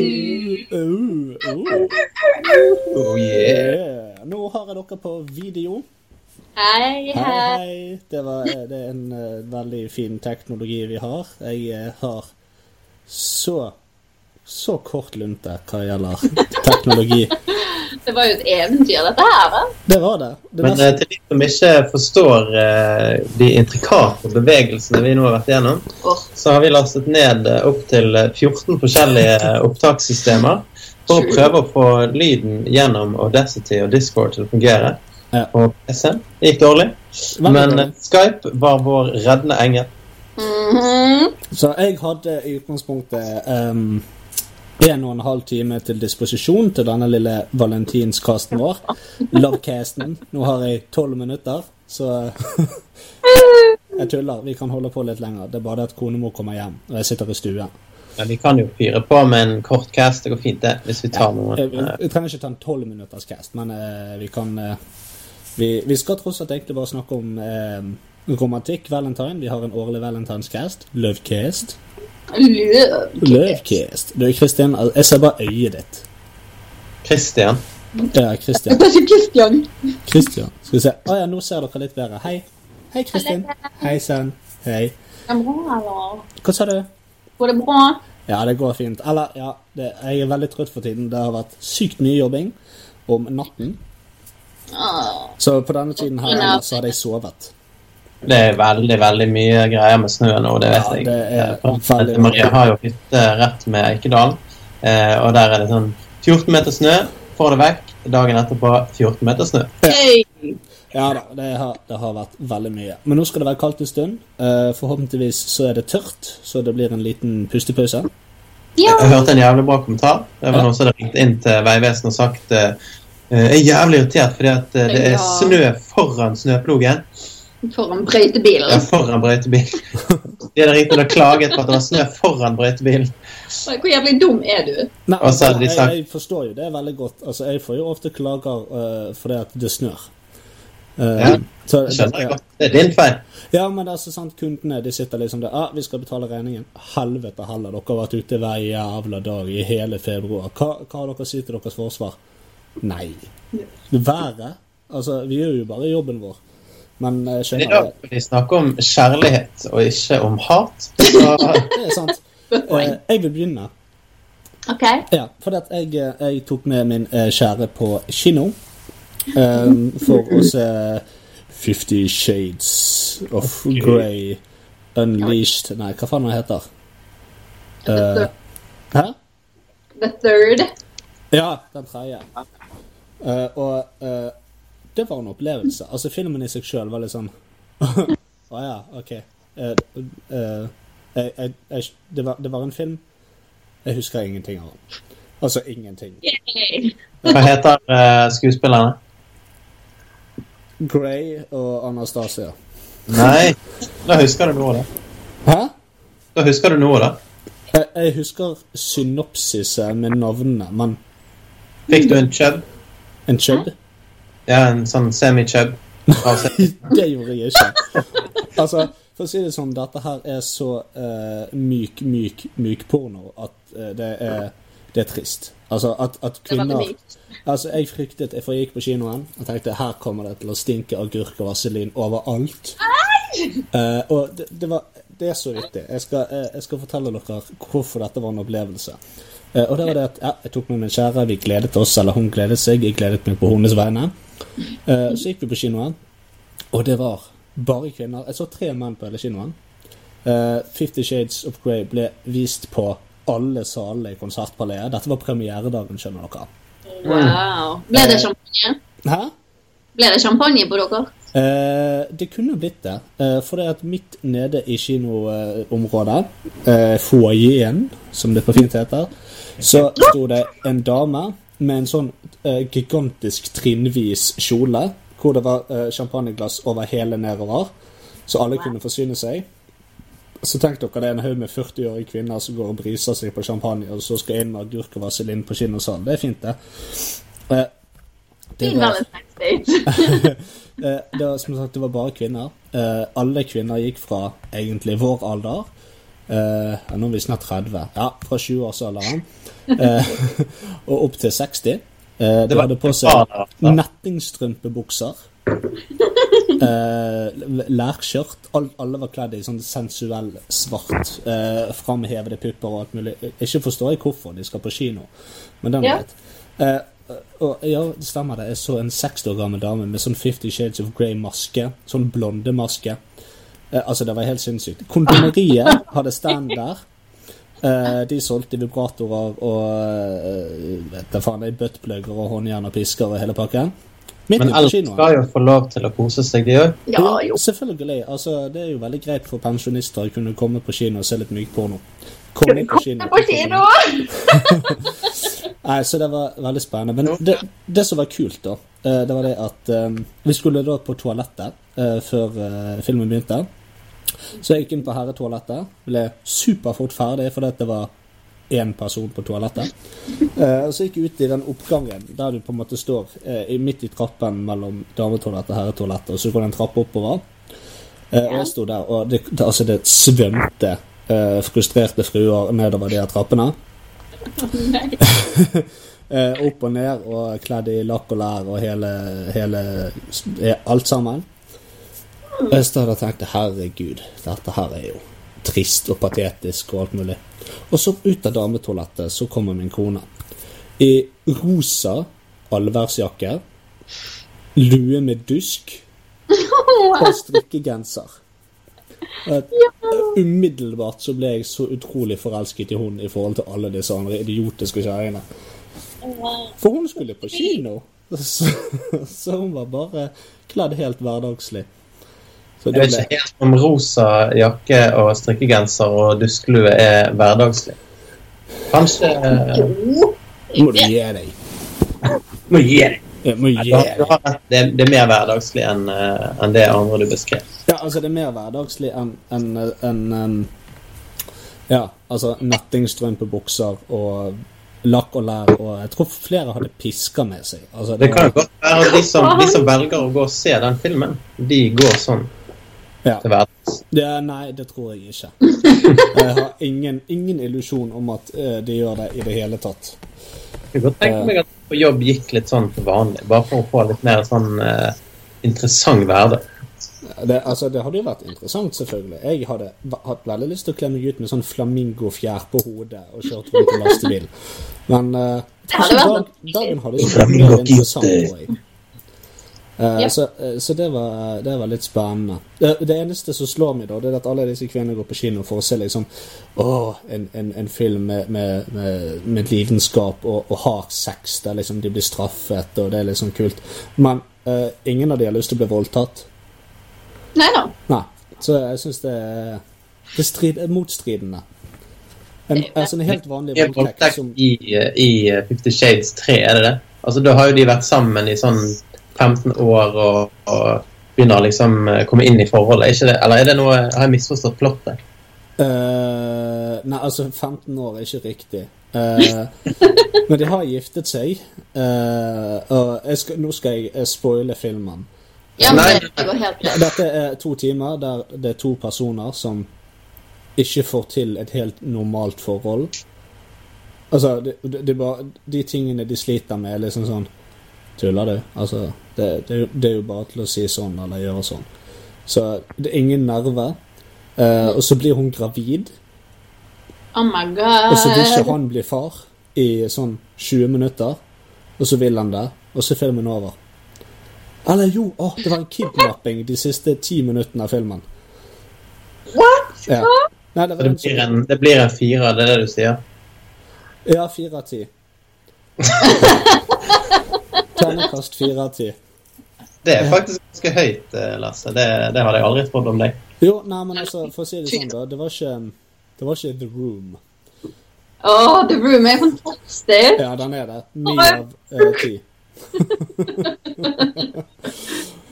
Oh, oh, Oh yeah. yeah. Eh, Nå har jeg dere på video. Hei, Hei, hei. hei. Det, var, det er en eh, veldig fin teknologi vi har. Jeg eh, har så så kort lunte hva gjelder teknologi. Det var jo et eventyr, dette her. va? Det var det. det Men eh, mest- til de som ikke forstår eh, de intrikate bevegelsene vi nå har vært igjennom, Åh, så har vi lastet ned eh, opp til eh, 14 forskjellige eh, opptakssystemer for å Sure. prøve å få lyden gjennom Audacity og Discord til å fungere. Ja. Og PC-en Det gikk dårlig, Veldig men dårlig. eh, Skype var vår reddende engel. mhm. Så jeg hadde i utgangspunktet em, en og en halv time til disposisjon til denne lille valentinskasten vår. Lovecasten. Nå har jeg tolv minutter, så Jeg tuller. Vi kan holde på litt lenger. Det er bare det at konemor kommer hjem, og jeg sitter i stuen. Men vi kan jo fyre på med en kort cast. Det går fint, det, hvis vi tar noen. Jeg, eh, jeg trenger ikke ta en tolv minutters cast, men eh, vi kan eh, vi, vi skal tross alt egentlig bare snakke om eh, romantikk, valentine. Vi har en årlig valentinescast. Lovecast. Løv. Lovecast. Du, Kristin, al- jeg ser bare øyet ditt. Christian. Ja, Kristin. Hva sier Kristian? Kristian. Skal vi se. Å ja, nå ser dere litt bedre. Hei. Hei, Kristin. Hei sann. Hei. Er det bra, eller? Hva sa du? Går det bra? Ja, det går fint. Eller, ja, det, jeg er veldig trøtt for tiden. Det har vært sykt mye jobbing om natten. Åh, Så på denne tiden her ellers så hadde jeg sovet. Det er veldig veldig mye greier med snø nå, det vet Ja, jeg. det er For at veldig mye. Maria har jo hytte rett med Eikedalen, eh, og der er det sånn 14 meter snø, får det vekk. Dagen etterpå 14 meter snø. Hei. Ja da, det har, det har vært veldig mye. Men nå skal det være kaldt en stund. Eh, forhåpentligvis så er det tørt, så det blir en liten pustepause. Ja. Jeg hørte en jævlig bra kommentar. Det var Ja. noen som hadde ringt inn til Vegvesenet og sagt eh, jeg er jævlig irritert fordi at eh, det er Ja. snø foran snøplogen. Foran Ja, brøytebilen. foran brøytebilen. De hadde ringt inn og klaget på at det var snø foran brøytebilen. Hvor jævlig dum er du? Nei, Og så hadde de jeg, sagt- jeg forstår jo det er veldig godt. Altså, Jeg får jo ofte klager eh, fordi at det snør. Eh, Ja, så- Det skjønner jeg ja. godt. Det er din feil. Ja, men det er så sant, kundene de sitter liksom der ah, 'Vi skal betale regningen.' Helvete heller, dere har vært ute hver jævla dag i hele februar. Hva, hva har dere å si til deres forsvar? Nei. Været? Altså, vi gjør jo bare jobben vår. Men jeg I skjønner dag det. skal vi snakke om kjærlighet og ikke om hat. Så Det er sant. Eh, jeg vil begynne. Ok. Ja, fordi at jeg, eh, jeg tok med min eh, kjære på kino eh, for å se Fifty Shades of Grey Unleashed Nei, hva faen den heter Eh, Hæ? The third. Ja, den tredje. Eh, og eh, det var en opplevelse. Altså, filmen i seg sjøl var litt sånn Å ja, OK. Eh, eh, jeg, jeg, jeg, det, var, det var en film. Jeg husker ingenting av den. Altså ingenting. Yay. Hva heter eh, skuespillerne? Grey og Anastasia. Nei, da husker du noe, da. Hæ? Da husker du noe, da. Jeg, jeg husker synopsiset med navnene, men Fikk du en chub? en chubb? Ja, en sånn semi-chub. Altså, Det gjorde jeg ikke. Altså, for å si det sånn, dette her er så eh, myk, myk, myk porno at eh, det, er, det er trist. Altså, at, at Det var kvinner veldig mykt. Altså, jeg fryktet For jeg gikk på kinoen og tenkte her kommer det til å stinke agurk og vaselin overalt. Eh, og det, det var Det er så vittig. Jeg skal, eh, jeg skal fortelle dere hvorfor dette var en opplevelse. Eh, og det var det at ja, jeg tok med min kjære, vi gledet oss, eller hun gledet seg, jeg gledet meg på hennes vegne. Eh, så gikk vi på kinoen, og det var bare kvinner. Jeg så tre menn på hele kinoen. Eh, Fifty Shades of Grey ble vist på alle salene i Konsertpaleet. Dette var premieredagen, skjønner dere. Wow. Ble det champagne? Hæ? Ble det champagne på dere? Eh, det kunne blitt det. Eh, for det at midt nede i kinoområdet, eh, foajeen, som det på fint heter, så sto det en dame med en sånn eh, gigantisk trinnvis kjole, hvor det var eh, champagneglass over hele nedover, så alle kunne forsyne seg. Så tenk dere det er en haug med 40-årige kvinner som går og briser seg på champagne, og så skal inn med agurk og vaselin på kinn og sal. Det er fint, det. Eh, det Fin Valentine's Day. Eh, det var som sagt, det var bare kvinner. Eh, alle kvinner gikk fra egentlig vår alder Eh, ja, nå er vi snart 30. Ja, fra 20-årsalderen eh, og opp til 60. Eh, de var hadde på ikke bare, seg altså. nettingstrømpebukser. Eh, Lærskjørt. Al- alle var kledd i sånn sensuell svart. Eh, framhevede pupper og alt mulig. Ikke forstår jeg hvorfor de skal på kino, men den Ja. vet. Eh, og ja, det stemmer det. Jeg så en 60 år gammel dame med sånn 50 Shades of Grey-maske. Sånn blondemaske. Eh, altså, det var helt sinnssykt. Kondomeriet hadde stand der. Eh, de solgte vibratorer og eh, vet da faen, det er buttplugger og håndjern og pisker og hele pakken. Midt Men inne på eldre kinoen. skal jo få lov til å kose seg, de òg. Ja, jo. selvfølgelig. Altså, det er jo veldig greit for pensjonister å kunne komme på kino og se litt myk porno. Kom inn på kino. Kom på kino! Nei, så det var veldig spennende. Men det, det som var kult, da, eh, det var det at eh, Vi skulle da på toalettet eh, før eh, filmen begynte. Så jeg gikk inn på herretoalettet. Ble superfort ferdig fordi at det var én person på toalettet. Eh, og så gikk jeg ut i den oppgangen der du på en måte står eh, i- midt i trappen mellom dametoalettet og herretoalettet, og så går det en trappe oppover. Eh, og jeg sto der, og det, det, altså det svømte eh, frustrerte fruer nedover de her trappene. Eh, opp og ned og kledd i lakk og lær og hele, hele eh, Alt sammen. Og jeg stod der og tenkte herregud, dette her er jo trist og patetisk og alt mulig. Og så ut av dametoalettet så kommer min kone. I rosa allværsjakke, lue med dusk og strikkegenser. Eh, Umiddelbart så ble jeg så utrolig forelsket i hun i forhold til alle disse andre idiotiske kjerringene. For hun skulle på kino. Så, så hun var bare kledd helt hverdagslig. Så Jeg det vet ble ikke helt om rosa jakke og strikkegenser og dusklue er hverdagslig. Kanskje eh, Jo. Må du gi deg. Må gi deg. Jeg Må gi Du har- deg. du har rett. Det, er- det er mer hverdagslig enn eh, enn det andre du beskrev. Ja, altså, det er mer hverdagslig enn enn- enn, em, Ja, altså nettingstrømpebukser og lakk og lær og Jeg tror flere hadde pisker med seg. Altså, Det kan jo var- godt være at de som, de som velger å gå og se den filmen, de går sånn ja. til hverdags. Ja, nei, det tror jeg ikke. Jeg har ingen, ingen illusjon om at eh, de gjør det i det hele tatt. Jeg kunne godt tenke meg at på jobb gikk litt sånn til vanlig, bare for å få litt mer sånn eh, interessant hverdag. Det, altså, det hadde jo vært interessant, selvfølgelig. Jeg hadde va- hatt veldig lyst til å kle meg ut med sånn flamingofjær på hodet og kjørt rundt i lastebil. Men eh, Det hadde vært dag, dagen hadde ikke vært mer interessant, tror jeg. Eh, Ja. så, eh, så det var, det var litt spennende. Det, det eneste som slår meg, da, det er at alle disse kvinnene går på kino for å se liksom Åh, en, en, en film med, med, med, med lidenskap og, og hard sex, der liksom de blir straffet, og det er liksom kult. Men eh, ingen av de har lyst til å bli voldtatt. Nei da. Nei. Så jeg syns det er, det strid, er motstridende. En, altså en helt vanlig Det er voldtekt som voldtekt i, eh, i eh, Fifty Shades 3, er det det? Altså, da har jo de vært sammen i sånn 15 år og, og begynner liksom eh, komme inn i forholdet. Er Ikke det, eller er det noe, har jeg misforstått plottet? Eh, Nei, altså 15 år er ikke riktig. Eh, men de har giftet seg. eh, og jeg skal, nå skal jeg eh, spoile filmen. Ja, men Nei. det det går helt greit. Dette er to timer der det er to personer som ikke får til et helt normalt forhold. Altså, det, det, det er bare, de tingene de sliter med, er liksom sånn Tuller du? Altså, det, det, er jo- det er jo bare til å si sånn eller gjøre sånn. Så det er ingen nerve. Eh, og så blir hun gravid, Oh my og så vil ikke god. han bli far i sånn 20 minutter. Og så vil han det, og så er filmen over. Eller jo, åh, det var en kidnapping de siste ti minuttene av filmen. What? Ja. Nei, det var Så det en sånn- blir som- en, det blir en fire, det er det du sier? Ja, fire av ti. Ternekast fire av ti. Det er faktisk ganske høyt, eh, Lasse. Det, det hadde jeg aldri trodd om deg. Jo, nei, men altså, for å si det sånn, da. Det var ikke, det var ikke The Room. Åh, The Room er fantastisk. Ja, den er det. Ni av eh, ti.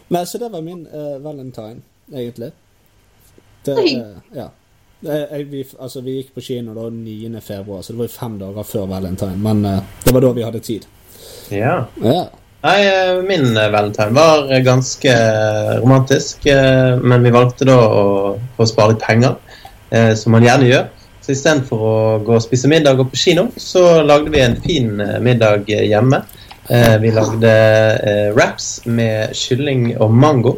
Nei, så det var min eh, valentine, egentlig. Det, eh, ja. Eh, Jeg, vi, altså, vi gikk på kino da 9. februar, så det var jo fem dager før valentine. Men eh, det var da vi hadde tid. Ja. Ja. Nei, eh, min eh, valentine var eh, ganske romantisk, eh, men vi valgte da å, å spare litt penger. eh, som man gjerne gjør. Så istedenfor å gå og spise middag og på kino, så lagde vi en fin eh, middag eh, hjemme. Eh, vi lagde eh, wraps med kylling og mango.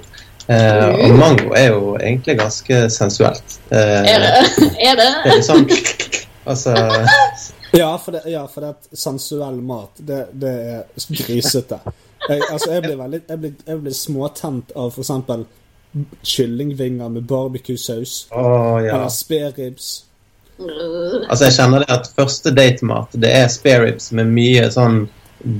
Eh, og mango er jo egentlig ganske sensuelt. Eh, Er det? det Er det? er litt sånn Altså Ja, for det, ja, for det at sensuell mat, det, det er grisete. Jeg, altså, jeg blir, veldig, jeg blir, jeg blir småtent av for eksempel kyllingvinger med barbecue-saus. Å, ja. Eller spareribs. Altså, jeg kjenner det at første datemat, det er spareribs med mye sånn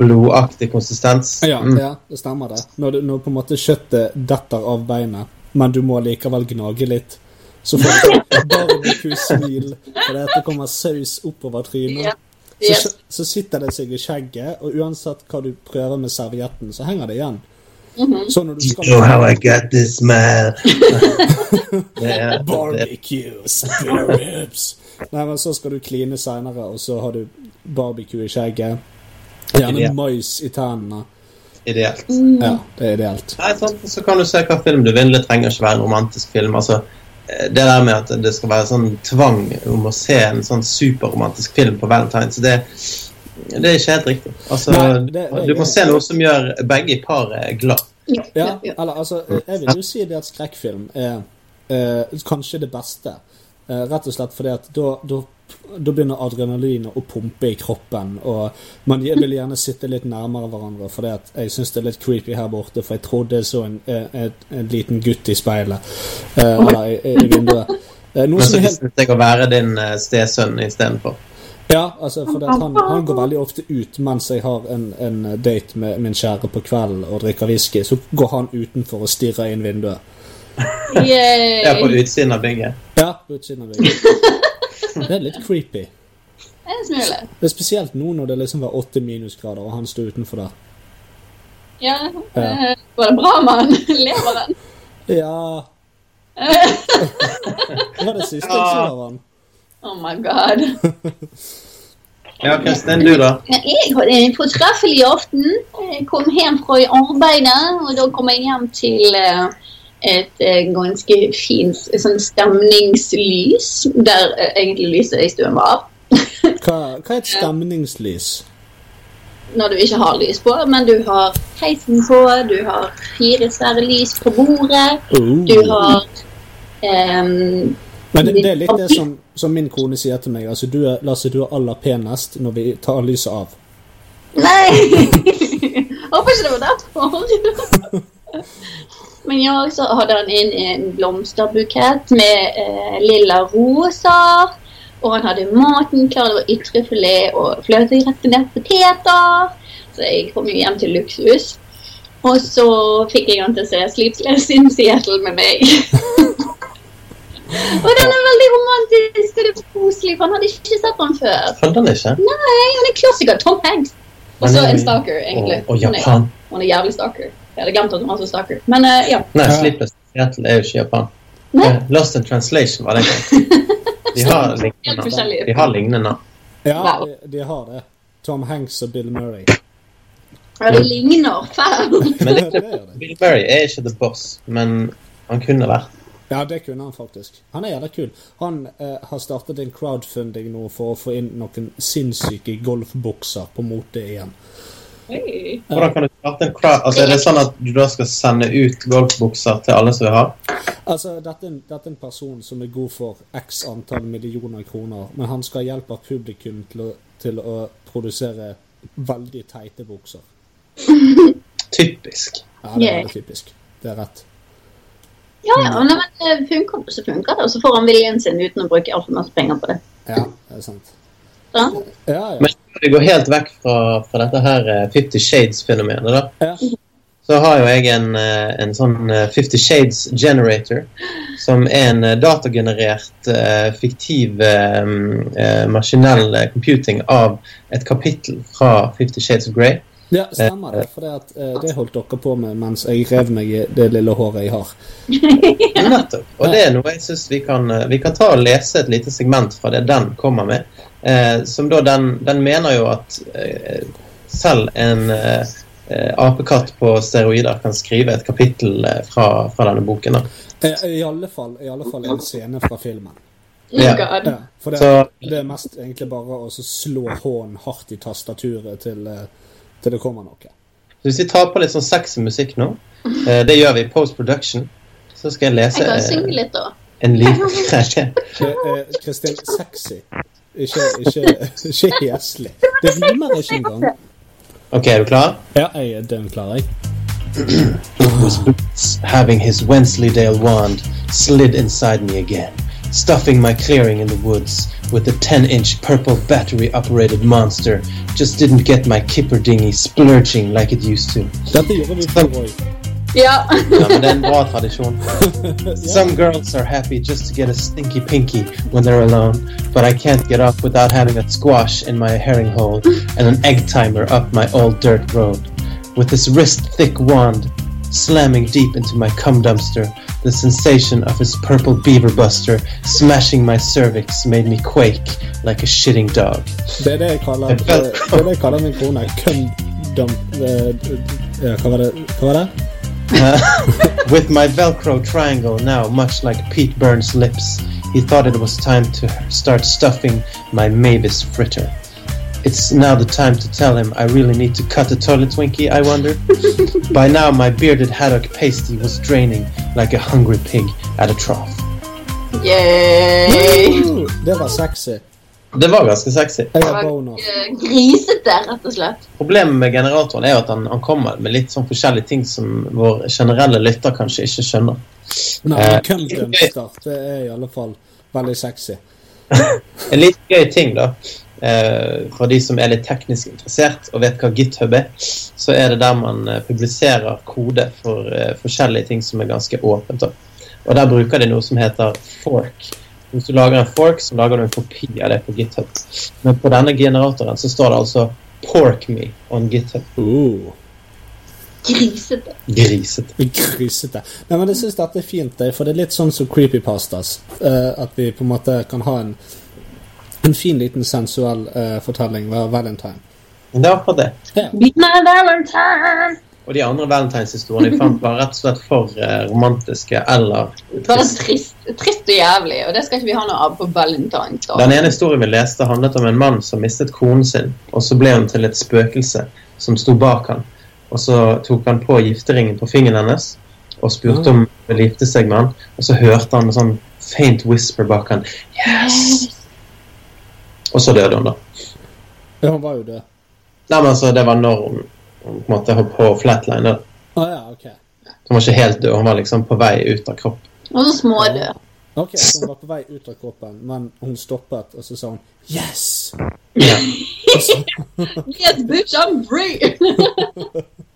blodaktig konsistens. Ja, Mm. ja, det stemmer det. Når, du, når på en måte kjøttet detter av beinet, men du må likevel gnage litt, så får du barbecue-smil fordi at det kommer saus oppover Ja. trynet. Så, Yes. så sitter det seg i skjegget, og uansett hva du prøver med servietten, så henger det igjen. Mhm. Så når du know Oh, how skal I got this smell. det er, det er, Barbecue, spare ribs. Nei, men så skal du kline seinere, og så har du barbecue i skjegget. Gjerne Ideelt. mais i tennene. ideelt. Mhm. Ja, det er ideelt. Nei, sant? Så kan du se hva film du vil. Det trenger ikke være en romantisk film. altså eh, det der med at det skal være sånn tvang om å se en sånn superromantisk film på Valentine's, det, det er ikke helt riktig. Altså, Nei, det- det er du må se noe som gjør begge i paret glad. Ja, eller altså, jeg vil jo si det at skrekkfilm er eh, kanskje det beste. Eh, rett og slett fordi at da, da, da begynner adrenalinet å pumpe i kroppen, og man gje- vil gjerne sitte litt nærmere hverandre, fordi at jeg syns det er litt creepy her borte, for jeg trodde jeg så en, eh, en, en liten gutt i speilet. eh, eller i, i- i vinduet. Eh, Men noe som så er helt visste jeg å være din eh, stesønn istedenfor. Ja, altså, for det at han, han går veldig ofte ut mens jeg har en, en date med min kjære på kvelden og drikker whisky. Så går han utenfor og stirrer inn vinduet. Yay. Jeg er på utsiden av bygget. Ja, på utsiden av veggen. Det er litt creepy. En smule. Det er Spesielt nå når det liksom var åtte minusgrader, og han sto utenfor der. Ja. Ja. eh, Var det bra, mann? Lever den? Ja Det var det siste jeg så av han. Oh my god. Ja, Kristin, du, da? Ja, Jeg hadde en fortreffelig aften. Jeg kom hjem fra arbeidet, og da kom jeg hjem til eh, et eh, ganske fint sånn stemningslys, der eh, egentlig lyset i stuen var av. Hva, hva er et stemningslys? Når du ikke har lys på, men du har heisen på, du har fire svære lys på bordet, Oh. du har ehm, Men det, det er litt det som, som min kone sier til meg. Altså, du er, Lasse, du er aller penest når vi tar lyset av. Nei! Håper ikke det var derfor. Men ja, så hadde han inn en blomsterbukett med eh, lilla roser. Og han hadde maten klar. Det var ytrefilet og fløtegratinerte poteter. Så jeg kom jo hjem til luksus. Og så fikk jeg han til å se Sleepless in Seattle med meg. og den er veldig romantisk, og det er koselig, for han hadde ikke sett den før. Fant han ikke? Nei, han er klassiker. Tom Hanks. Og så en stalker, egentlig. Og, og Hun er- Japan. Hun er jævlig stalker. Jeg hadde glemt at hun var så stalker. Men eh, ja. Nei, Ja. Sleepless in Seattle er jo ikke Japan. Nei. Eh, Lost in Translation var det en gang. De har lignende Helt navn. forskjellige. De har lignende navn. Ja, Wow. de, de har det. Tom Hanks og Bill Murray. Ja, det ligner fælt. Men det, Ja, det gjør det. Bill Murray er ikke The Boss, men han kunne vært. Ja, det kunne han faktisk. Han er jævla kul. Han eh, har startet en crowdfunding nå for å få inn noen sinnssyke golfbukser på mote igjen. Hey. Hvordan kan du starte en crowd? Altså, Er det sånn at du da skal sende ut golfbukser til alle som vil ha? Altså, dette er, en, dette er en person som er god for x antall millioner kroner, men han skal ha hjelp av publikum til å, til å produsere veldig teite bukser. Typisk. Ja, det er Yay. veldig typisk. Det er rett. Ja, ja. Nei, men eh, funker det, så funker det. Og så får han viljen sin uten å bruke altfor masse penger på det. oh Ja, det er sant. Sant? Ja, ja. Men vi går helt vekk fra, fra dette her eh, Fifty Shades-fenomenet, da. Ja. så har jo jeg en, eh, en sånn eh, Fifty Shades Generator, som er en eh, datagenerert, eh, fiktiv eh, mm, eh, maskinell eh, computing av et kapittel fra Fifty Shades of Grey. ja stemmer det. For det, at, eh, det holdt dere på med mens jeg rev meg i det lille håret jeg har. Nettopp. Og det er noe jeg synes vi kan, eh, vi kan ta og lese et lite segment fra det den kommer med. Eh, som da den, den mener jo at eh, selv en eh, eh, apekatt på steroider kan skrive et kapittel eh, fra, fra denne boken. da. Eh, I alle fall, i alle fall en scene fra filmen. Oh Ja. god. Ja, for det, Så- det er mest egentlig bare å så slå hånden hardt i tastaturet til, eh, til det kommer noe. Så hvis vi tar på litt sånn sexy musikk nå, eh, det gjør vi i post production, så skal jeg lese Jeg kan eh, synge litt, da. en liten Det er Kristin sexy. Ikke, ikke, ikke heslig. Det rimer ikke engang. Ok, er du klar? Ja, jeg er dønn klar, jeg. It was Boots, having his Wensleydale wand slid inside me again, stuffing my clearing in the woods with a 10 inch purple battery operated monster. Just didn't get my kipper dinghy splurging like it used to. Dette gjorde vi for Roy. Ja. Ja, men det er en bra tradisjon. Some girls are happy just to get a stinky pinky when they're alone, but I can't get up without having a squash in my herring hole and an egg timer up my old dirt road. With this wrist thick wand slamming deep into my cum dumpster, the sensation of his purple beaver buster smashing my cervix made me quake like a shitting dog. Det er det jeg kaller, det, det er det jeg kaller min kone. Køndom... Ja, hva var det? Hva var det? With my Velcro triangle now, much like Pete Burns' lips, he thought it was time to start stuffing my Mavis fritter. It's now the time to tell him I really need to cut a toilet Twinkie, I wondered. By now, my bearded haddock pasty was draining like a hungry pig at a trough. Yay. Det var sexy. Det var ganske sexy. Jeg Det har var boner. eh, grisete, rett og slett. Problemet med generatoren er jo at han, han kommer med litt sånn forskjellige ting som vår generelle lytter kanskje ikke skjønner. Nei, Eh, køndømster. Det er i alle fall veldig sexy. En litt gøy ting, da. eh, For de som er litt teknisk interessert og vet hva GitHub er, så er det der man eh, publiserer kode for eh, forskjellige ting som er ganske åpent. da. Og der bruker de noe som heter fork. Hvis du lager en fork, så lager du en kopi av det på GitHub. Men på denne generatoren så står det altså 'pork me on GitHub'. Uh. Grisete. Grisete. Grisete. Nei, men jeg syns dette er fint, det, for det er litt sånn som creepypastas. eh, at vi på en måte kan ha en, en fin, liten sensuell eh, fortelling hver valentine. Men det er akkurat det. Ja. Be my valentine. Og de andre valentinshistoriene jeg fant, var rett og slett for eh, romantiske eller Bare trist, trist og jævlig, og det skal ikke vi ha noe av på Valentine's Day. Den ene historien vi leste handlet om en mann som mistet konen sin, og så ble hun til et spøkelse som sto bak han. Og så tok han på gifteringen på fingeren hennes og spurte om hun ville gifte seg med han, og så hørte han en sånn faint whisper bak han. Eh. Yes! Og så døde hun, da. Ja, hun var jo død. Nei, men altså, det var når hun, hun på en måte holdt på flatline. da. Å ja, ok. Hun var ikke helt død, hun var liksom på vei ut av kroppen. Og så smådød. Ok, så Hun var på vei ut av kroppen, men hun stoppet, og så sa hun 'yes'. Ja. Og så, Yes, bitch, I'm free!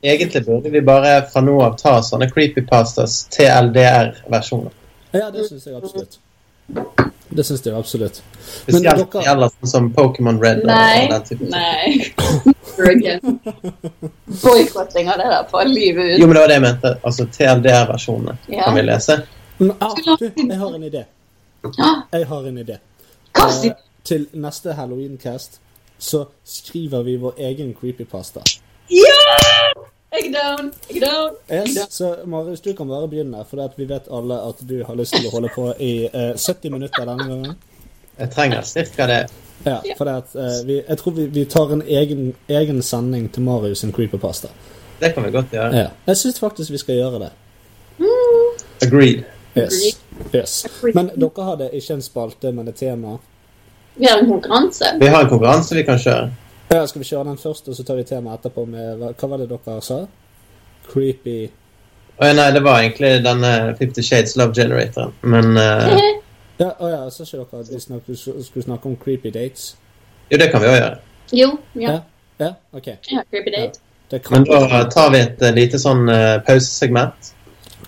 Egentlig burde vi bare fra nå av ta sånne creepypastas TLDR-versjoner. ja, det syns jeg absolutt. Det syns jeg absolutt. Men Spesielt dere- gjelder sånn som Pokémon Red. og- Nei. og den typen. Nei. Never again. Boikotting av det der fra livet Jo, ut. men det var det jeg mente. Altså TLDR-versjonene Ja. kan vi lese. Men, ah, du, jeg har en idé. Jeg har en idé. Hva Eh, sier til neste Halloween-cast så skriver vi vår egen creepypasta. Ja! Jeg down, jeg down. Yes, så Marius, du kan bare begynne, for det at vi vet alle at du har lyst til å holde på i eh, 70 minutter denne gangen. Jeg trenger cirka det. Ja, for det at eh, vi, Jeg tror vi, vi tar en egen, egen sending til Marius sin creepypasta. Det kan vi godt gjøre. Ja. Jeg syns faktisk vi skal gjøre det. Agreed. Yes. yes. Men dere hadde ikke en spalte, men et tema. Vi har en konkurranse. Vi har en konkurranse vi kan kjøre. Ja, skal vi kjøre den først, og så tar vi temaet etterpå med Hva, hva var det dere sa? Creepy Å, nei, det var egentlig denne Fifty Shades Love Generatoren. Men eh, Ja, å ja, så sa dere at vi snak, skulle snakke om creepy dates. jo, det kan vi òg gjøre. Jo, ja. Ja, OK. ja creepy date. Det kan Men da tar vi et eh, lite sånn eh, pausesegment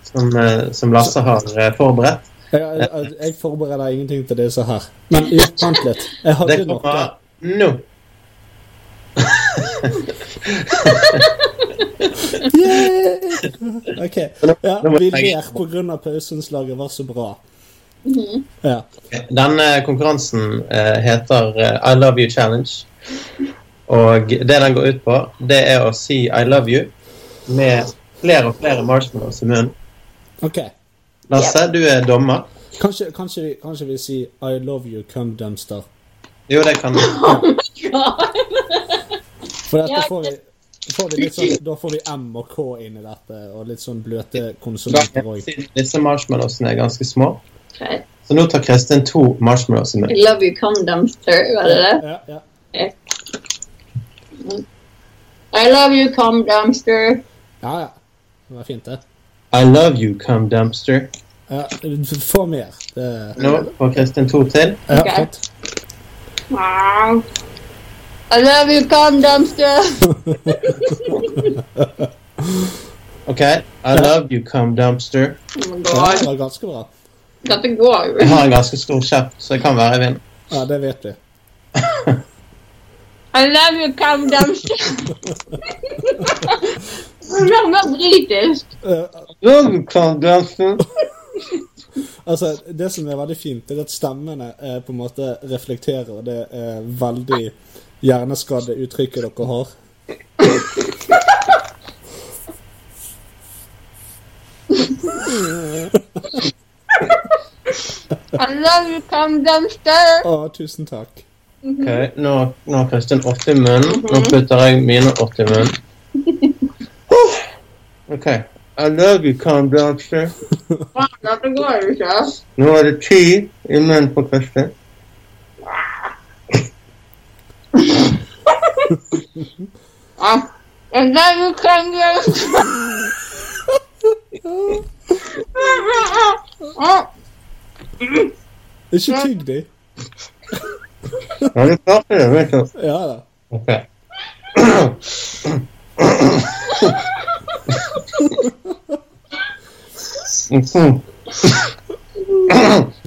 som, eh, som Lasse har eh, forberedt. jeg, jeg, jeg forbereder ingenting til det så her. Men jo, vent litt. Jeg hadde Det noe. kommer nå. Yeah! OK. Ja, Nå må vi jeg- ler på grunn av pauseanslaget var så bra. Mhm. Ja. Denne konkurransen eh, heter eh, I Love You Challenge. Og det den går ut på, det er å si I love you med flere og flere marshmallows i munnen. OK. Lasse, du er dommer. Kanskje, kanskje, vi, kanskje vi sier I love you, cum dumpster. Jo, det kan God. For dette Ja, får vi, får vi litt sånn, Da får vi M og K inn i dette, og litt sånn bløte konsonanter òg. Siden Disse marshmallowsene er ganske små. Okay. Så nå tar Kristin to marshmallows i I munnen. love you condumpster, var det det? Ja, ja. I love you condumpster. ja, ja. Det var fint, det. I love you, come dumpster. Ja, få mer. Det, Nå får Kristin to til. ja, Ok. flott. Wow. I love you condumpster. OK. I love you, come dumpster. Oh my Ja, det God. var ganske bra. Dette går Jeg jo. har en ganske stor kjeft, så jeg kan være i vinden. Ja, det vet vi. I love you condumpster. Det er mer britisk. Eh, Love you, come dumpster. altså, det som er veldig fint, er at stemmene eh, på en måte reflekterer det eh, veldig hjerneskadde uttrykket dere har. I love you condumpster. Å, tusen takk. Ok, Nå nå har Kristin 80 i munnen. Nå putter jeg mine 80 i munnen. Uff. OK. I love you, come dumpster. Faen, dette går jo ikke. ass. Nå er det ti i munnen på Kristin. Ja. I love you condumpster. Ikke tygg de. Ja, du klarte det, vet du. Ja da. OK. Mhm.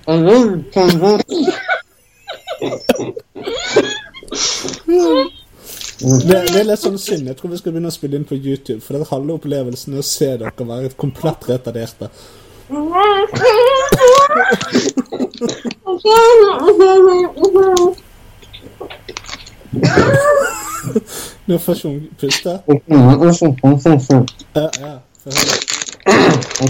I love you, come dumpster. Det, det er litt sånn synd. Jeg tror vi skal begynne å spille inn på YouTube, for det er halve opplevelsen å se dere være komplett retarderte. Nå får ikke hun puste. Mhm, mhm, mhm, mhm. Ja, ja. Få høre.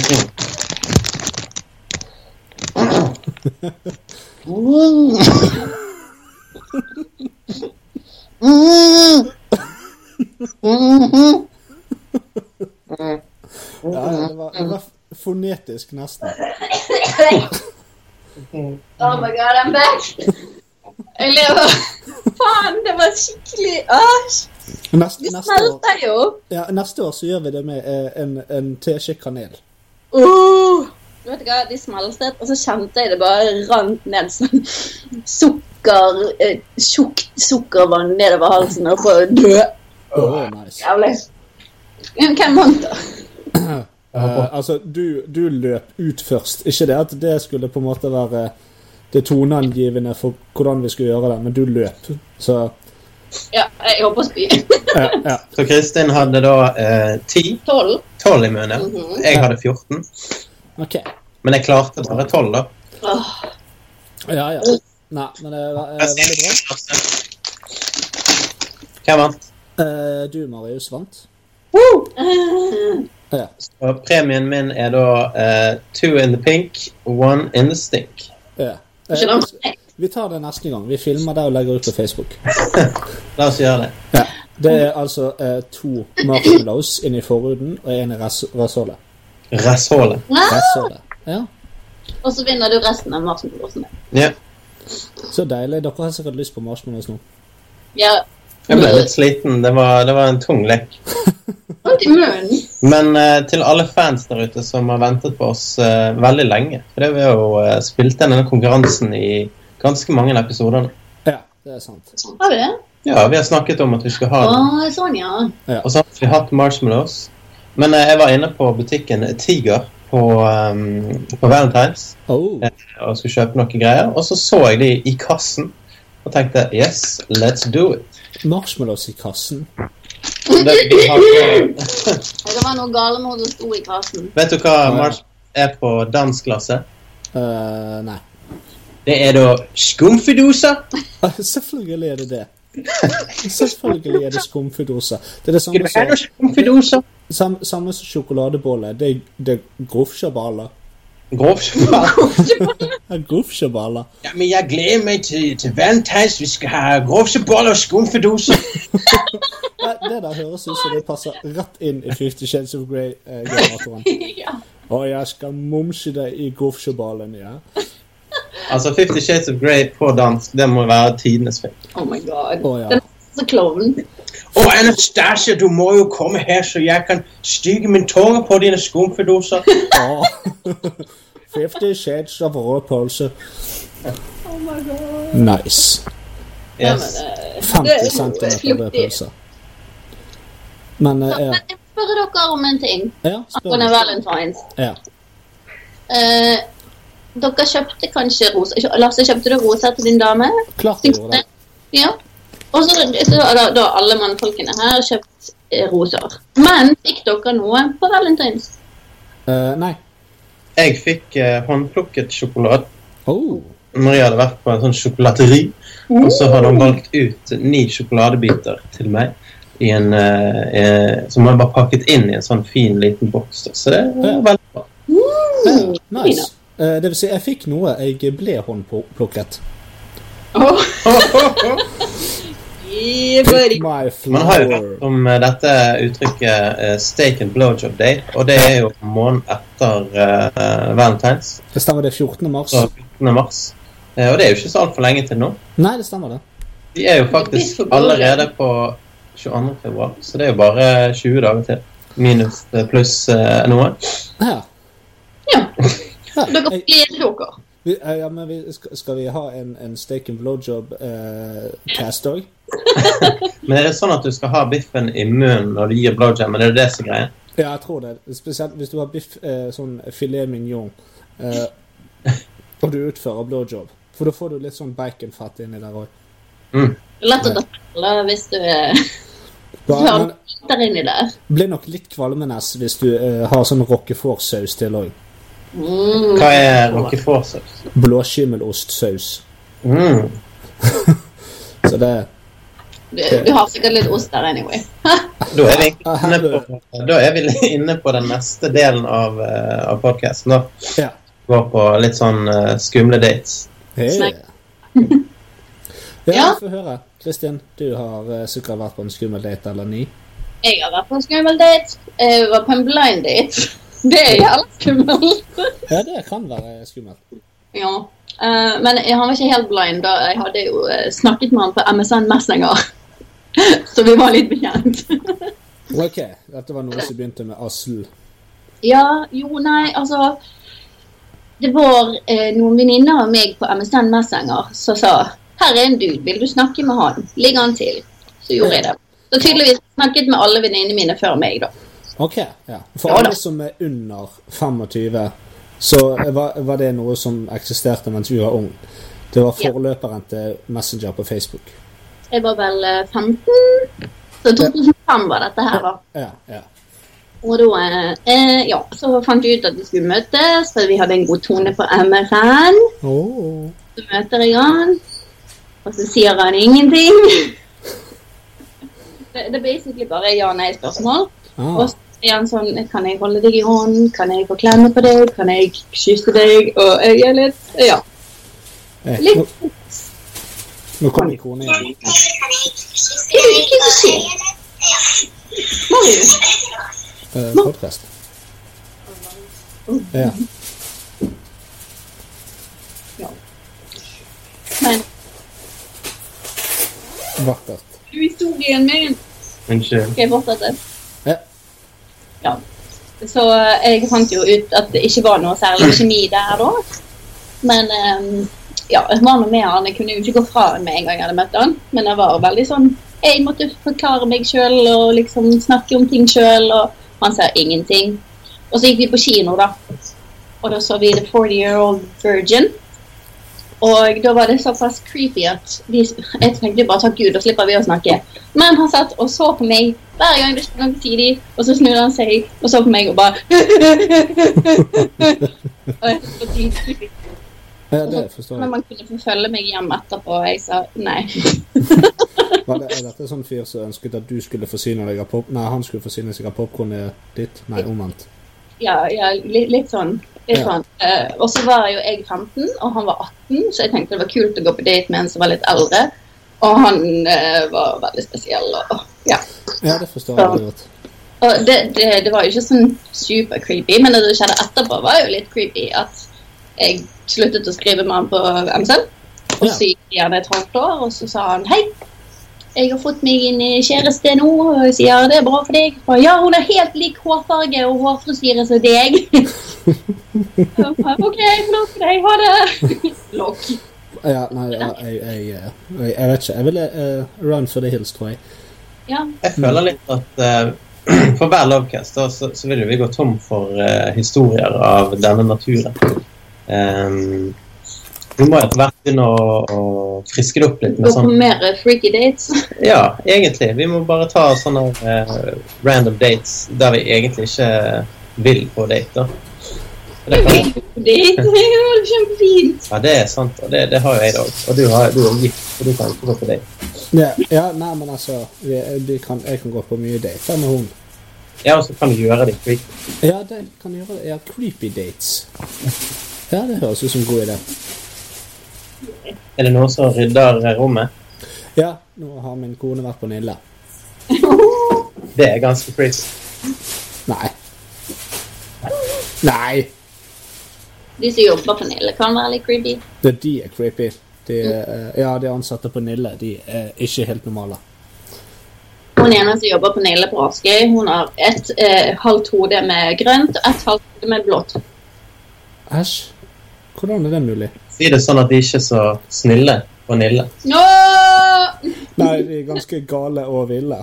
Ja, ja, det, var, det var fonetisk, nesten. Oh my god, I'm back. Jeg lever. Faen, det var skikkelig Æsj! Neste, Det neste, år, smelter jo. ja, neste år så gjør vi det med eh, en, en teskje kanel. Uh. Du vet hva, De smeltet, og så kjente jeg det bare rant ned sånn sukker, eh, tjukt sukkervann nedover halsen. Og på dø. Oh, nice. Jævlig. Men Hvem vant, da? Eh, altså, du, du løp ut først. Ikke det at det skulle på en måte være det toneangivende for hvordan vi skulle gjøre det, men du løp. Så Ja, jeg håper spy. ja, ja. Så Kristin hadde da eh, 10, Tolv. 12 i munnen. Mhm. Jeg hadde 14, OK. men jeg klarte bare 12, da. Åh, Ja, ja. Nei, men det var eh, veldig bra. Hvem vant? Eh, du, Marius, vant. Ja. Og premien min er da eh, two in the pink, one in the stink. ja. Ikke Eh, langt. vi tar det neste gang. Vi filmer det og legger ut på Facebook. La oss gjøre det. Ja. Det er altså eh, to marshmallows inni forhuden og én i ras- rasshølet. Rasshålet. Rasshølet. Ja. Og så vinner du resten av marshmallowsene. Ja. Så deilig. Dere har sikkert lyst på marshmallows nå. Ja. Jeg ble litt sliten. Det var, det var en tung lek. Vondt i munnen. Men eh, til alle fans der ute som har ventet på oss eh, veldig lenge For det vi har jo eh, spilt inn denne konkurransen i ganske mange episoder nå. Ja, det er sant. Har vi det? Ja, vi har snakket om at vi skal ha Å, den. sånn, ja. Og så har vi hatt marshmallows. Men eh, jeg var inne på butikken Tiger på, eh, på Valentine's Oh. eh, og skulle kjøpe noen greier. Og så så jeg de i kassen og tenkte yes, let's do it. Marshmallows i kassen. Det, vi har, Og Det var noe gale med hun som sto i kassen. vet du hva marshmallows er på dansklasse? Eh, nei. Det er da skumfidosa. Ah, Selvfølgelig er det det. Selvfølgelig er det skumfidosa. Det er det samme Skulle du ha som, noe skumfidosa? sam, samme som sjokoladebolle. Det, er- det er grofsjabaler. Grovkjøpal. Grovkjøballer. Ja, men jeg gleder meg til, til valentines. Vi skal ha grovkjøboller og skumfidose. Nei, Det der høres ut som det passer rett inn i Fifty Shades of Grey-generatoren. ja. og jeg skal mumse deg i grovkjøballen, ja. Altså, Fifty Shades of Grey på dansk, det må være tidenes film. Oh my god. Å, ja. Den er så klovn. Å, Anastasia, du må jo komme her, så jeg kan stygge min tunge på dine skumfidoser. Å. Fifty Shades of rød pølse. Oh my god. Nice. Ja, Yes. men, eh, 50 det- centimeter rød pølse. Men eh, Men jeg spør dere om en ting ja, spør angående meg. valentines. Ja. Eh, dere kjøpte kanskje rosa Lasse, kjøpte du rosa til din dame? Klart jeg gjorde det. Ja. Og så så har da, da alle mannfolkene her kjøpt eh, roser. Men fikk dere noe på valentines? Eh, nei. Jeg fikk eh, håndplukket sjokolade. Oh. Maria hadde vært på en sånn sjokolateri, og så hadde Uh. hun valgt ut ni sjokoladebiter til meg. I en, eh, eh, som hun bare pakket inn i en sånn fin, liten boks. da. Så det var veldig bra. Eh, Mm. nice. Eh, det vil si, jeg fikk noe jeg ble håndplukket. Oh. Yeah, buddy. My Man har jo flower. hørt om eh, dette uttrykket eh, 'steak and blowjob day', og det er jo måneden etter eh, valentines, Det stemmer, det er 14. mars. så 14. mars. Eh, og det er jo ikke så altfor lenge til nå. Nei, det stemmer det. Vi er jo faktisk allerede på 22. februar, så det er jo bare 20 dager til. Minus eh, pluss eh, noe. Ja. Ja. Ja, Dere jeg, får glede dere. vi, eh, ja, men vi, skal, skal vi ha en, en steak and eh, blowjob-cast òg? Men er det sånn at du skal ha biffen i munnen når du gir blowjam? Er det det som er greia? Ja, jeg tror det. Spesielt hvis du har biff, eh, sånn filet mignon, eh, og du utfører blowjob. For da får du litt sånn baconfett inni der òg. Det er lett å ta felle hvis du eh, har Men der inni der. blir nok litt kvalmenes hvis du eh, har sånn roquefort-saus til òg. Mm. Hva er roquefort-saus? Blåskimmelostsaus. Mm. Så det Du, du har sikkert litt ost der anyway. Da er, vi inne på, da er vi inne på den neste delen av, eh, av podkasten. Ja. Går på litt sånn eh, skumle dates. Hey. Snakk. Ja, Ja. få høre. Kristin, du har eh, sikkert vært på en skummel date eller ni. Jeg har vært på en skummel date. Jeg var på en blind date. Det er jævla skummelt. Ja, det kan være skummelt. Ja. Eh, men jeg- han var ikke helt blind. da. Jeg hadde jo eh, snakket med han på MSN Messenger. Så vi var litt bekjent. Ok, dette var noe som begynte med Asl. Ja, jo, nei, altså Det var eh, noen venninner av meg på MSN Messenger som sa Her er en dude, vil du snakke med han? Ligger han til? Så gjorde jeg det. Så tydeligvis snakket med alle venninnene mine før meg, da. Ok, ja. For Ja, da. alle som er under 25, så eh, var, var det noe som eksisterte mens vi var ung. Det var Ja. forløperen til Messenger på Facebook. Jeg var vel eh, 15. Så 2005 var dette her, da. Ja, ja. Og da eh, eh, ja, så fant vi ut at vi skulle møtes, for vi hadde en god tone på MRN. Oh. Så møter jeg han, og så sier han ingenting. Det, det er basically bare ja-nei-spørsmål. Og Ah. så er han sånn Kan jeg holde deg i hånden? Kan jeg få klemme på deg? Kan jeg kysse deg? Og jeg er litt Ja. Eh, litt- nå, nå kom ikonet igjen. Hva er det hva er det som skjer? Marius. Eh, podcast. Ja. Men Vakkert. du er historien min. Unnskyld. Skal jeg fortsette? Ja. Ja. Så eh, jeg fant jo ut at det ikke var noe særlig kjemi der da. Men eh, ja, jeg var nå med han. Jeg kunne jo ikke gå fra han med en gang jeg hadde møtt han. Men jeg var veldig sånn Jeg måtte forklare meg sjøl og liksom snakke om ting sjøl, og han sa ingenting. Og så gikk vi på kino, da. Og da så vi The 40 Year Old Virgin. Og da var det såpass creepy at vi, jeg tenkte bare takk Gud, da slipper vi å snakke. Men han satt og så på meg hver gang det skulle noe tidlig, og så snudde han seg og så på meg og bare Og jeg var dritskippig. Ja, det forstår Men jeg. man kunne få følge meg hjem etterpå, og jeg sa nei. Var det, er dette sånn fyr som ønsket at du skulle forsyne deg av pop... Nei, han skulle forsyne seg av popkornet ditt? Nei, omvendt. Ja, ja litt, litt sånn. Det er sånn. Eh, og så var jo jeg 15, og han var 18, så jeg tenkte det var kult å gå på date med en som var litt eldre. Og han eh, var veldig spesiell. Og, ja. Ja, det forstår jeg veldig godt. og det, det, det var jo ikke sånn super creepy, men det som skjedde etterpå, var jo litt creepy at jeg sluttet å skrive med han på MSN. Og Ja. så gikk det gjerne et halvt år, og så sa han hei. Jeg har fått meg en eh, kjæreste nå, og jeg sier det er bra for deg. Og ja, hun har helt lik hårfarge og hårfrisyre som deg. Så jeg bare, OK, flott for deg, ha det. Lokk. Ja, nei, ja, jeg, jeg, jeg, jeg, jeg vet ikke. Jeg ville eh, run for the hills, tror jeg. Ja. Jeg føler litt at eh, for hver lovcast da, så, så vil jo vi gå tom for eh, historier av denne naturen. Ehm, vi må etter hvert begynne å, å friske det opp litt med Gå på sånn mer eh, freaky dates. Ja, egentlig. Vi må bare ta sånne eh, random dates der vi egentlig ikke vil på date, da. Det, Jeg kan, vil på date, det er jo kjempefint. ja, det er sant, og det, det har jo jeg òg. Og du, har, du er gift, og du kan ikke gå på date. Ja, ja nei, men altså vi, vi kan, Jeg kan gå på mye dater med hun. Ja, og så kan du gjøre det quick. Ja, det kan jeg gjøre. Ja, creepy dates. Ja, det høres ut som en god idé. Er det noen som rydder rommet? Ja, nå har min kone vært på Nille. Det er ganske crazy. Nei. Nei! De som jobber på Nille, kan være litt creepy. Det, de er creepy. De, eh, ja, de ansatte på Nille de er ikke helt normale. Hun ene som jobber på Nille på Askøy, hun har et eh, halvt hode med grønt og et halvt hode med blått. Æsj. Hvordan er det mulig? Si det sånn at de ikke er så snille og nille. Nå! Nei, de er ganske gale og ville.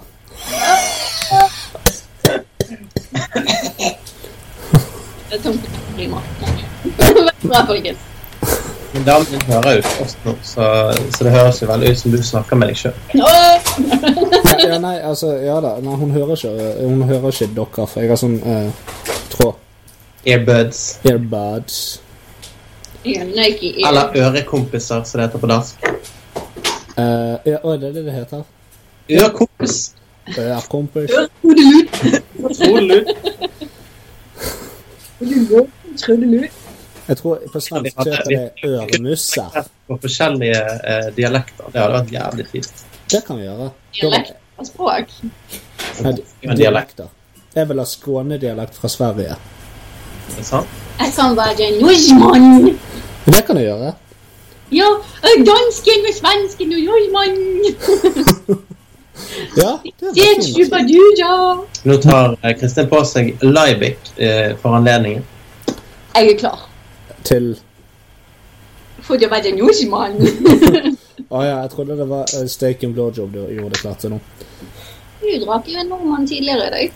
Det er tomt for klimaet. Bra, folkens. Men damen din hører jo ikke oss nå, så, så det høres jo veldig ut som du snakker med deg sjøl. Nå! Ja, ja, nei, altså, ja da. Nei, hun hører ikke, eh, hun hører ikke dere, for jeg har sånn eh, tråd. Earbuds. Earbuds. Jeg er ikke i- Eller ørekompiser, som det heter på dansk. Eh, ja, oi, det er det det heter. eh, Ørekompis. Ja, kompis. Trudelutt. Solut. Trudelutt. Trudelutt. Jeg tror på svensk så heter det øremusse. På forskjellige eh, dialekter. Det hadde vært jævlig fint. Det kan vi gjøre. Dialekt og språk. Nei, Men dialekt, dialekter. Jeg vil ha skånedialekt fra Sverige. er det sant? Jeg kan være nordmann. Det kan jeg gjøre. Ja, eh, dansken og svensken og nordmann. Ja, det Det er er fint. superduja. Nå tar eh, Kristin på seg Laibik eh, for anledningen. Jeg er klar. Til For det var det nordmann. Å ja, jeg trodde det var eh, steak and blowjob du gjorde klart til nå. Du drakk jo en nordmann tidligere i dag.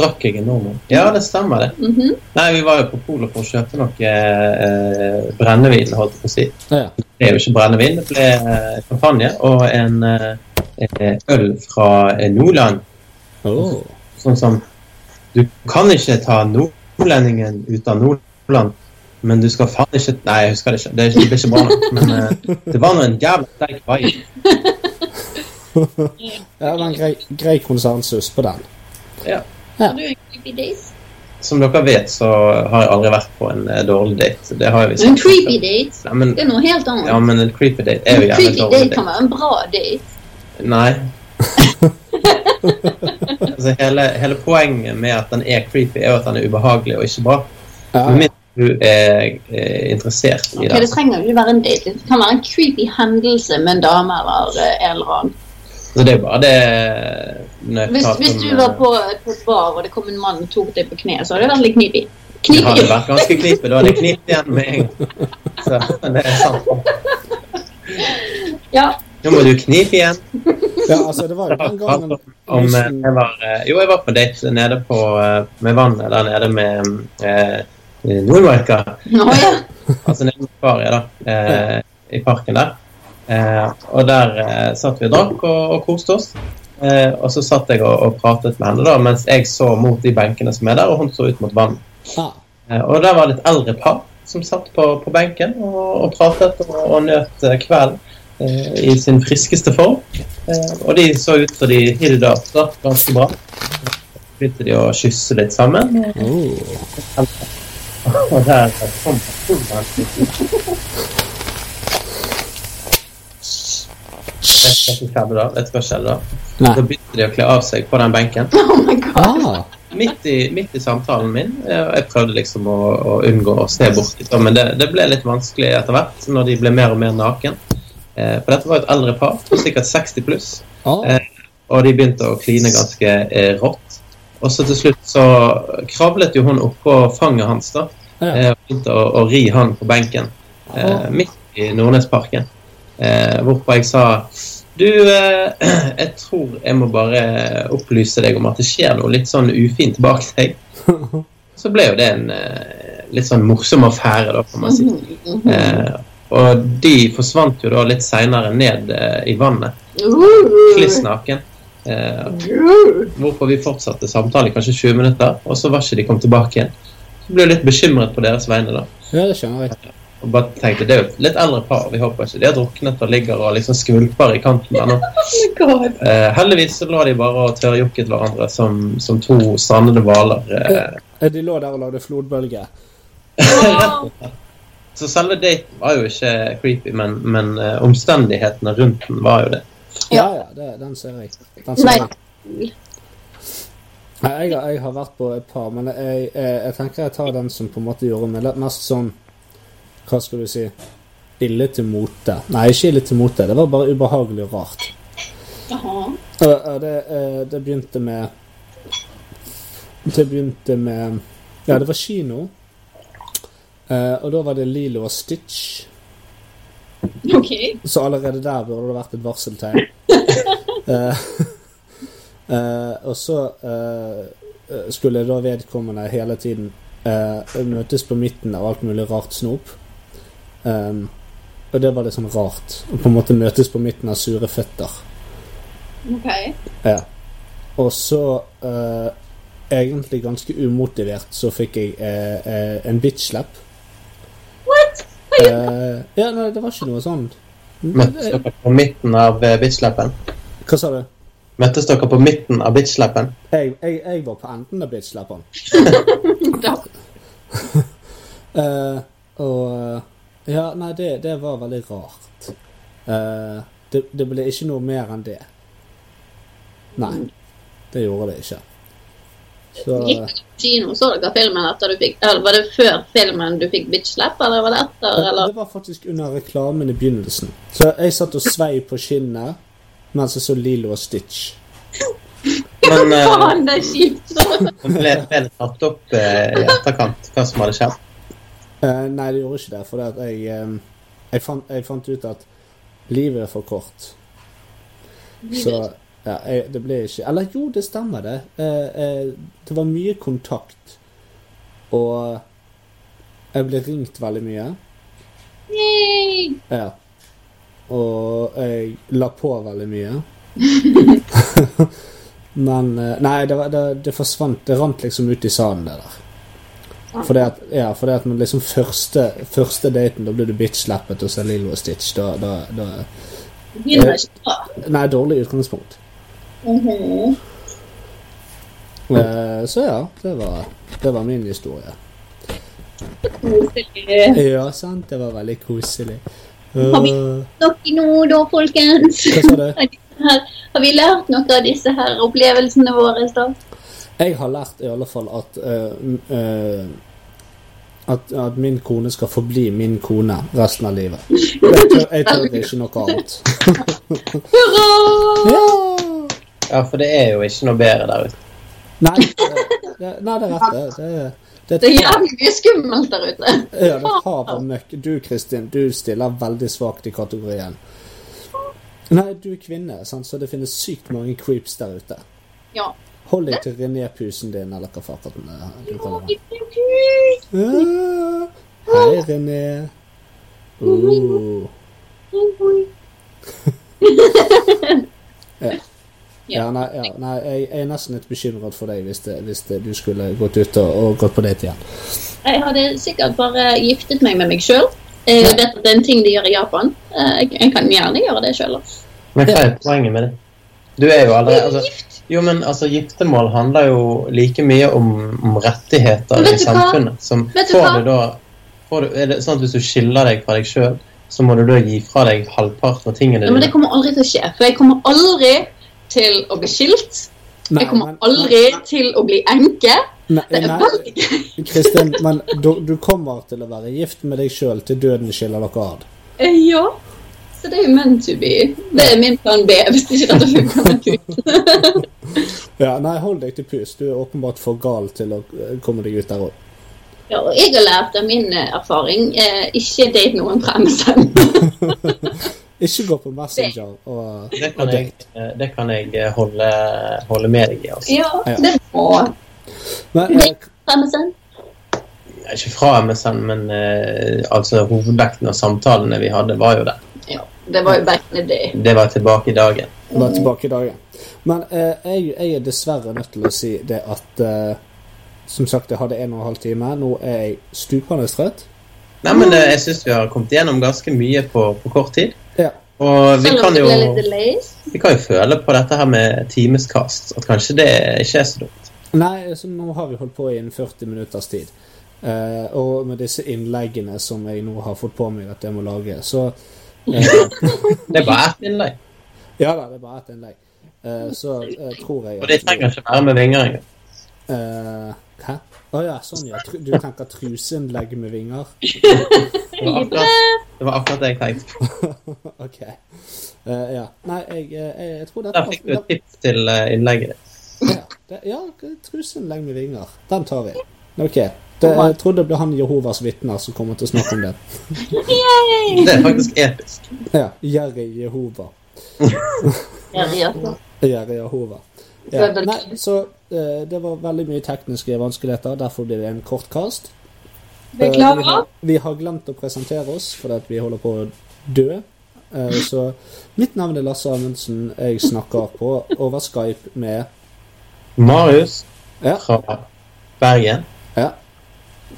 Drakk jeg en nordmann? Ja, det stemmer, det. Mhm. Nei, vi var jo på polet for å kjøpe noe eh, brennevin, holdt jeg på å si. Ja, ja. Det ble jo ikke brennevin, det ble eh, champagne og en eh, øl fra eh, Nordland. Oh. Sånn som Du kan ikke ta nordlendingen ut av Nordland, men du skal faen ikke Nei, jeg husker det ikke. Det er ikke- det blir ikke bra nok. Men eh, det var nå en jævla sterk vibe. Ja, det var en grei, grei konsernsus på den. Ja. Ja. Du er en creepy date. Som dere vet, så har jeg aldri vært på en eh, dårlig date. Det har jeg visst. En creepy date, Nei, men, det er noe helt annet. ja, men en creepy date er jo en gjerne en creepy dårlig date kan date. være en bra date. Nei. altså, hele, hele poenget med at den er creepy, er jo at den er ubehagelig og ikke bra. Ja, Med mindre du er, eh, interessert i Ok, det. det trenger jo ikke være en date. Det kan være en creepy hendelse med en dame eller eh, en eller annen. Så det er bare det når jeg Hvis, prater hvis om, du eh, var på, på et bar og det kom en mann og tok deg på kne, så hadde det vært litt knipig. eh, Det hadde Knipig! vært ganske knipig. Da hadde jeg knipt igjen med en gang. Så det er sant. Ja. Nå må du knipe igjen. ja altså, det var jo Jeg har den pratet gangen om, om eh, Lysten- jeg var, eh, Jo, jeg var på date nede på, eh, med vannet der nede med eh, Nordmarka. Nå, ja. Altså nede på Faria, da. Eh, I parken der. Eh, og der eh, satt vi og drakk og, og koste oss. Eh, og så satt jeg og, og pratet med henne da, mens jeg så mot de benkene som er der, og hun så ut mot vannet. Ja. Eh, og der var det et eldre par som satt på, på benken og, og pratet og, og nøt eh, kvelden eh, i sin friskeste form. Eh, og de så ut som de hidde det opp da, ganske bra. Så Begynte de å kysse litt sammen. Oh. Og der kom personen. Jeg skal ikke skjedde da. Vet du hva skjedde da? Nei. Da begynte de å kle av seg på den benken. Oh my god. Ah, Midt i, midt i samtalen min. eh, og Jeg prøvde liksom å, å unngå å se bort, liksom, men det, det ble litt vanskelig etter hvert når de ble mer og mer naken. Eh, For dette var et eldre par, sikkert 60 pluss. ah. Eh, Og de begynte å kline ganske eh, rått. Og så til slutt så kravlet jo hun oppå fanget hans da, Ja. eh, og begynte å, å ri han på benken eh, midt i Nordnesparken. Eh, hvorpå jeg sa Du, eh, jeg tror jeg må bare opplyse deg om at det skjer noe litt sånn ufint bak deg. Så ble jo det en eh, litt sånn morsom affære, da, kan man si. Mhm. Eh, og de forsvant jo da litt seinere ned eh, i vannet kliss naken. Eh, hvorpå vi fortsatte samtalen i kanskje 20 minutter, og så var ikke de kommet tilbake igjen. Så ble jeg litt bekymret på deres vegne, da. ja, det skjønner jeg. Og bare tenkte, det er jo et litt eldre par, vi håper ikke de har druknet og ligger og liksom skvulper i kanten der nå. god. Eh, heldigvis så lå de bare og tørrjokket hverandre som, som to strandede hvaler. Eh, Eh, De lå der og lagde flodbølger. Sånn. så selve daten var jo ikke creepy, men, men eh, omstendighetene rundt den var jo det. Ja, ja, det, den ser jeg. Den ser Nei. jeg. Nei, Jeg, har- jeg har vært på et par, men jeg, jeg, jeg tenker jeg tar den som på en måte gjorde meg litt mest sånn Hva skal du si Ille til mote. Nei, ikke ille til mote. Det var bare ubehagelig og rart. Jaha. Og, og det, eh, det begynte med Det begynte med Ja, det var kino. Eh, og da var det Lilo og Stitch. Ok. Så allerede der burde det vært et varseltegn. Eh, eh, og så eh, skulle da vedkommende hele tiden eh, møtes på midten av alt mulig rart snop. Em, og det var litt sånn rart. Å på en måte møtes på midten av sure føtter. Ok. Ja. Og så eh, Egentlig ganske umotivert så fikk jeg eh, eh, en bitch-slap. What? Eh, ja, nei, det var ikke noe sånn. Møttes dere på midten av eh, bitchlappen? Hva sa du? Møttes dere på midten av bitchlappen? Jeg, jeg, jeg var på enden av bitch-slapperen. Da. Eh, og eh, Ja, nei, det, det var veldig rart. Eh, det, det ble ikke noe mer enn det. Nei. Det gjorde det ikke. Så eh, Gikk du på kino, så dere filmen etter du fikk Eller var det før filmen du fikk bitch slap, eller var det etter, Eh, eller? Det var faktisk under reklamen i begynnelsen. Så jeg satt og svei på skinnet mens jeg så Lilo og Stitch. Men, eh, Faen, det er kjipt! Men ble, ble det tatt opp eh, i etterkant hva som hadde skjedd? Eh, nei, det gjorde ikke det, for det at jeg, eh, jeg, fant, jeg fant ut at livet er for kort. Så ja, jeg, det ble ikke Eller jo, det stemmer, det. Eh, eh, det var mye kontakt. Og jeg ble ringt veldig mye. Yay! Ja. Og jeg la på veldig mye. Men eh, Nei, det, var, det, det forsvant. Det rant liksom ut i sanden, det der. Fordi at, ja, fordi at når liksom første, første daten, da blir du bitch-slappet og så er Lilo og Stitch. Da, da, da Det begynner ikke bra. Nei, dårlig utgangspunkt. Mhm. Eh, så ja, det var, det var min historie. Koselig. Ja, sant. Det var veldig koselig. Har vi- Eh, Dere nå, da, folkens. Hva sa du? Her, har vi lært noe av disse her opplevelsene våre? da? Jeg har lært i alle fall at eh, m- eh, at, at min kone skal forbli min kone resten av livet. Jeg tør, jeg tør ikke noe annet. Hurra! Ja! Ja, for det er jo ikke noe bedre der ute. Nei, det, det, nei, det er rett. det. Det, det, Det er er et hav- jævlig mye skummelt der ute. ja, det er et hav av møkk. Du, Kristin, du stiller veldig svakt i kategorien. Nei, du er kvinne, sant? så det finnes sykt mange creeps der ute. Ja. Hold deg til René-pusen din, eller hva faen den er. Du kaller den. Gud, Ja. Hei, René. Uh. gud. Ja, nei, ja, nei jeg, jeg er nesten litt bekymret for deg hvis, det, hvis det, du skulle gått ut og, og gått på date igjen. Jeg hadde sikkert bare giftet meg med meg sjøl. Jeg vet at det er en ting de gjør i Japan. Eh, Jeg jeg kan gjerne gjøre det sjøl. Men hva er poenget med det? Du er jo allerede altså, Gift! Jo, men altså, giftermål handler jo like mye om, om rettigheter Men i vet du hva? samfunnet. Som Vet du får hva? du da får du, Er det sånn at hvis du skiller deg fra deg sjøl, så må du da gi fra deg halvparten av tingene Ja, men det dine? kommer aldri til å skje. For jeg kommer aldri til å bli skilt. Nei, Jeg kommer men- aldri til å bli enke. Nei, Det er nei, veldig gøy. Kristin, men du, du kommer til å være gift med deg sjøl til døden skiller dere ad. Eh, Ja. Så det er jo meant to be. Det er min plan B hvis ikke dette funker. med kuk. Ja, nei, hold deg til pus. Du er åpenbart for gal til å eh, komme deg ut der òg. Ja, og jeg har lært av min eh, erfaring eh, ikke date noen fremmede. Ikke gå på Messenger og Det kan jeg, eh, det kan jeg eh, holde, holde med deg i. altså. Ja, det må Men eh, fremmede. Ja, Ikke fra MSN, men eh, altså hovedvekten av samtalene vi hadde, var jo det. Ja, det var jo back in the day. Det var tilbake i dagen. være tilbake i dag igjen. Men eh, jeg, jeg er dessverre nødt til å si det at eh, Som sagt, jeg hadde en og en halv time. Nå er jeg stupende trøtt. Nei, men eh, jeg syns vi har kommet gjennom ganske mye på, på kort tid. Ja. Og vi Selv om kan det jo ble litt delays. Vi kan jo føle på dette her med timeskast, at kanskje det ikke er så dumt. Nei, så nå har vi holdt på i en 40 minutters tid. Eh, og med disse innleggene som jeg nå har fått på meg at jeg må lage, så eh, Det er bare ett innlegg, Ja da, det er bare ett innlegg. Eh, så eh, tror jeg og det trenger ikke være med vinger engang. Eh, Hæ? Å ja, sånn ja. Tru- Du tenker truseinnlegg med vinger? Det var akkurat- Det var akkurat det jeg tenkte. på. OK. Eh, ja. Nei, jeg, eh, jeg tror dette Der fikk du et tips til eh, innlegget ditt. Ja, det, ja truseinnlegg med vinger. Den tar vi. OK. Det, jeg trodde det ble han Jehovas vitner som kommer til å snakke om det. Yay! Det er faktisk episk. Ja. Jerry Jehova. Ja, ja, ja. Jerry Jehova. Ja. Nei, så eh, det var veldig mye tekniske vanskeligheter. Derfor blir det en kort cast. Eh, vi, har, Beklager. vi har glemt å presentere oss fordi at vi holder på å dø. Eh, så mitt navn er Lasse Amundsen. Jeg snakker på over Skype med Marius Ja. fra Bergen. ja.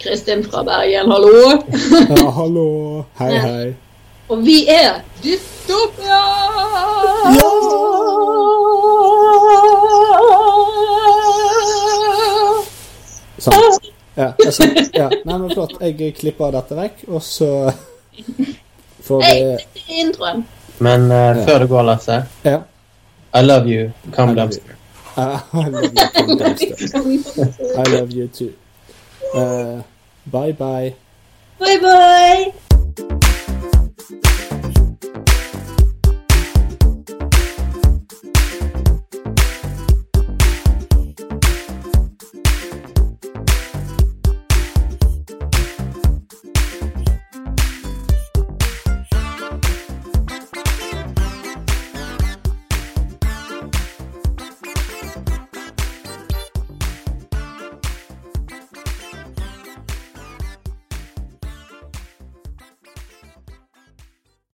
Kristin fra Bergen, hallo. ja Eh, hallo. Hei, hei. Og vi er Dystopia! Ja! Sant. Sånn. Ja, det er sant. ja. Nei, men flott. Jeg klipper dette vekk, og så får Hei, vi dette er introen. Men eh, Ja. før du går, Lasse, Ja. I love you, I come love you. dumpster. Uh, I love you, Tom Dempster. I love you too. Uh, Eh, bye bye. Bye bye!